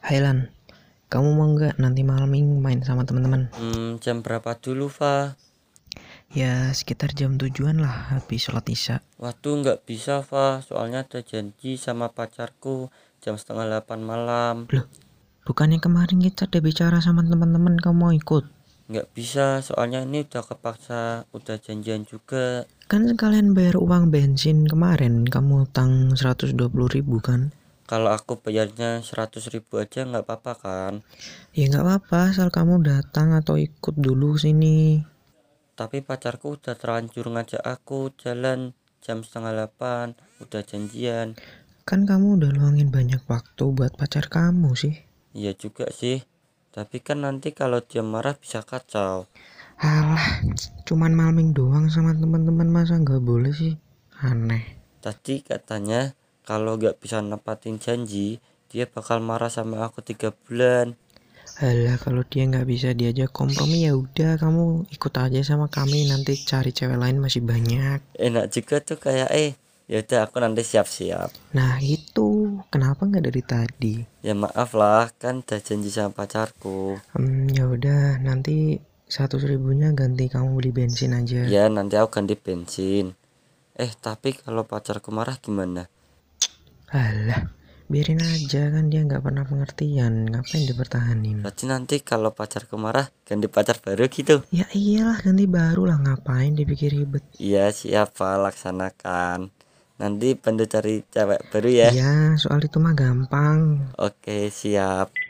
Hai Lan, kamu mau nggak nanti malam minggu main sama teman-teman? Hmm, jam berapa dulu, Fa? Ya, sekitar jam tujuan lah habis sholat isya. Waduh, nggak bisa, Fa. Soalnya ada janji sama pacarku jam setengah delapan malam. Bukannya kemarin kita udah bicara sama teman-teman kamu mau ikut? Nggak bisa, soalnya ini udah kepaksa, udah janjian juga. Kan sekalian bayar uang bensin kemarin, kamu utang 120 ribu kan? Kalau aku bayarnya 100.000 ribu aja nggak apa-apa kan? Ya nggak apa-apa, asal kamu datang atau ikut dulu sini. Tapi pacarku udah terlanjur ngajak aku jalan jam setengah delapan, udah janjian. Kan kamu udah luangin banyak waktu buat pacar kamu sih. Iya juga sih. Tapi kan nanti kalau dia marah bisa kacau. Alah, cuman malming doang sama teman-teman masa nggak boleh sih? Aneh. Tadi katanya kalau nggak bisa nepatin janji, dia bakal marah sama aku tiga bulan. Alah kalau dia nggak bisa diajak kompromi ya udah kamu ikut aja sama kami nanti cari cewek lain masih banyak. Enak juga tuh kayak eh. Ya udah aku nanti siap-siap. Nah itu kenapa nggak dari tadi? Ya maaf lah, kan udah janji sama pacarku. Hmm ya udah nanti satu ribunya ganti kamu beli bensin aja. Ya nanti aku ganti bensin. Eh tapi kalau pacarku marah gimana? Alah biarin aja kan dia nggak pernah pengertian ngapain dipertahanin? Berarti nanti kalau pacarku marah ganti pacar baru gitu. Ya iyalah ganti baru lah ngapain dipikir ribet. Iya siapa laksanakan. Iya. Nanti bantu cari cewek baru ya. Ya soal itu mah gampang Oke siap.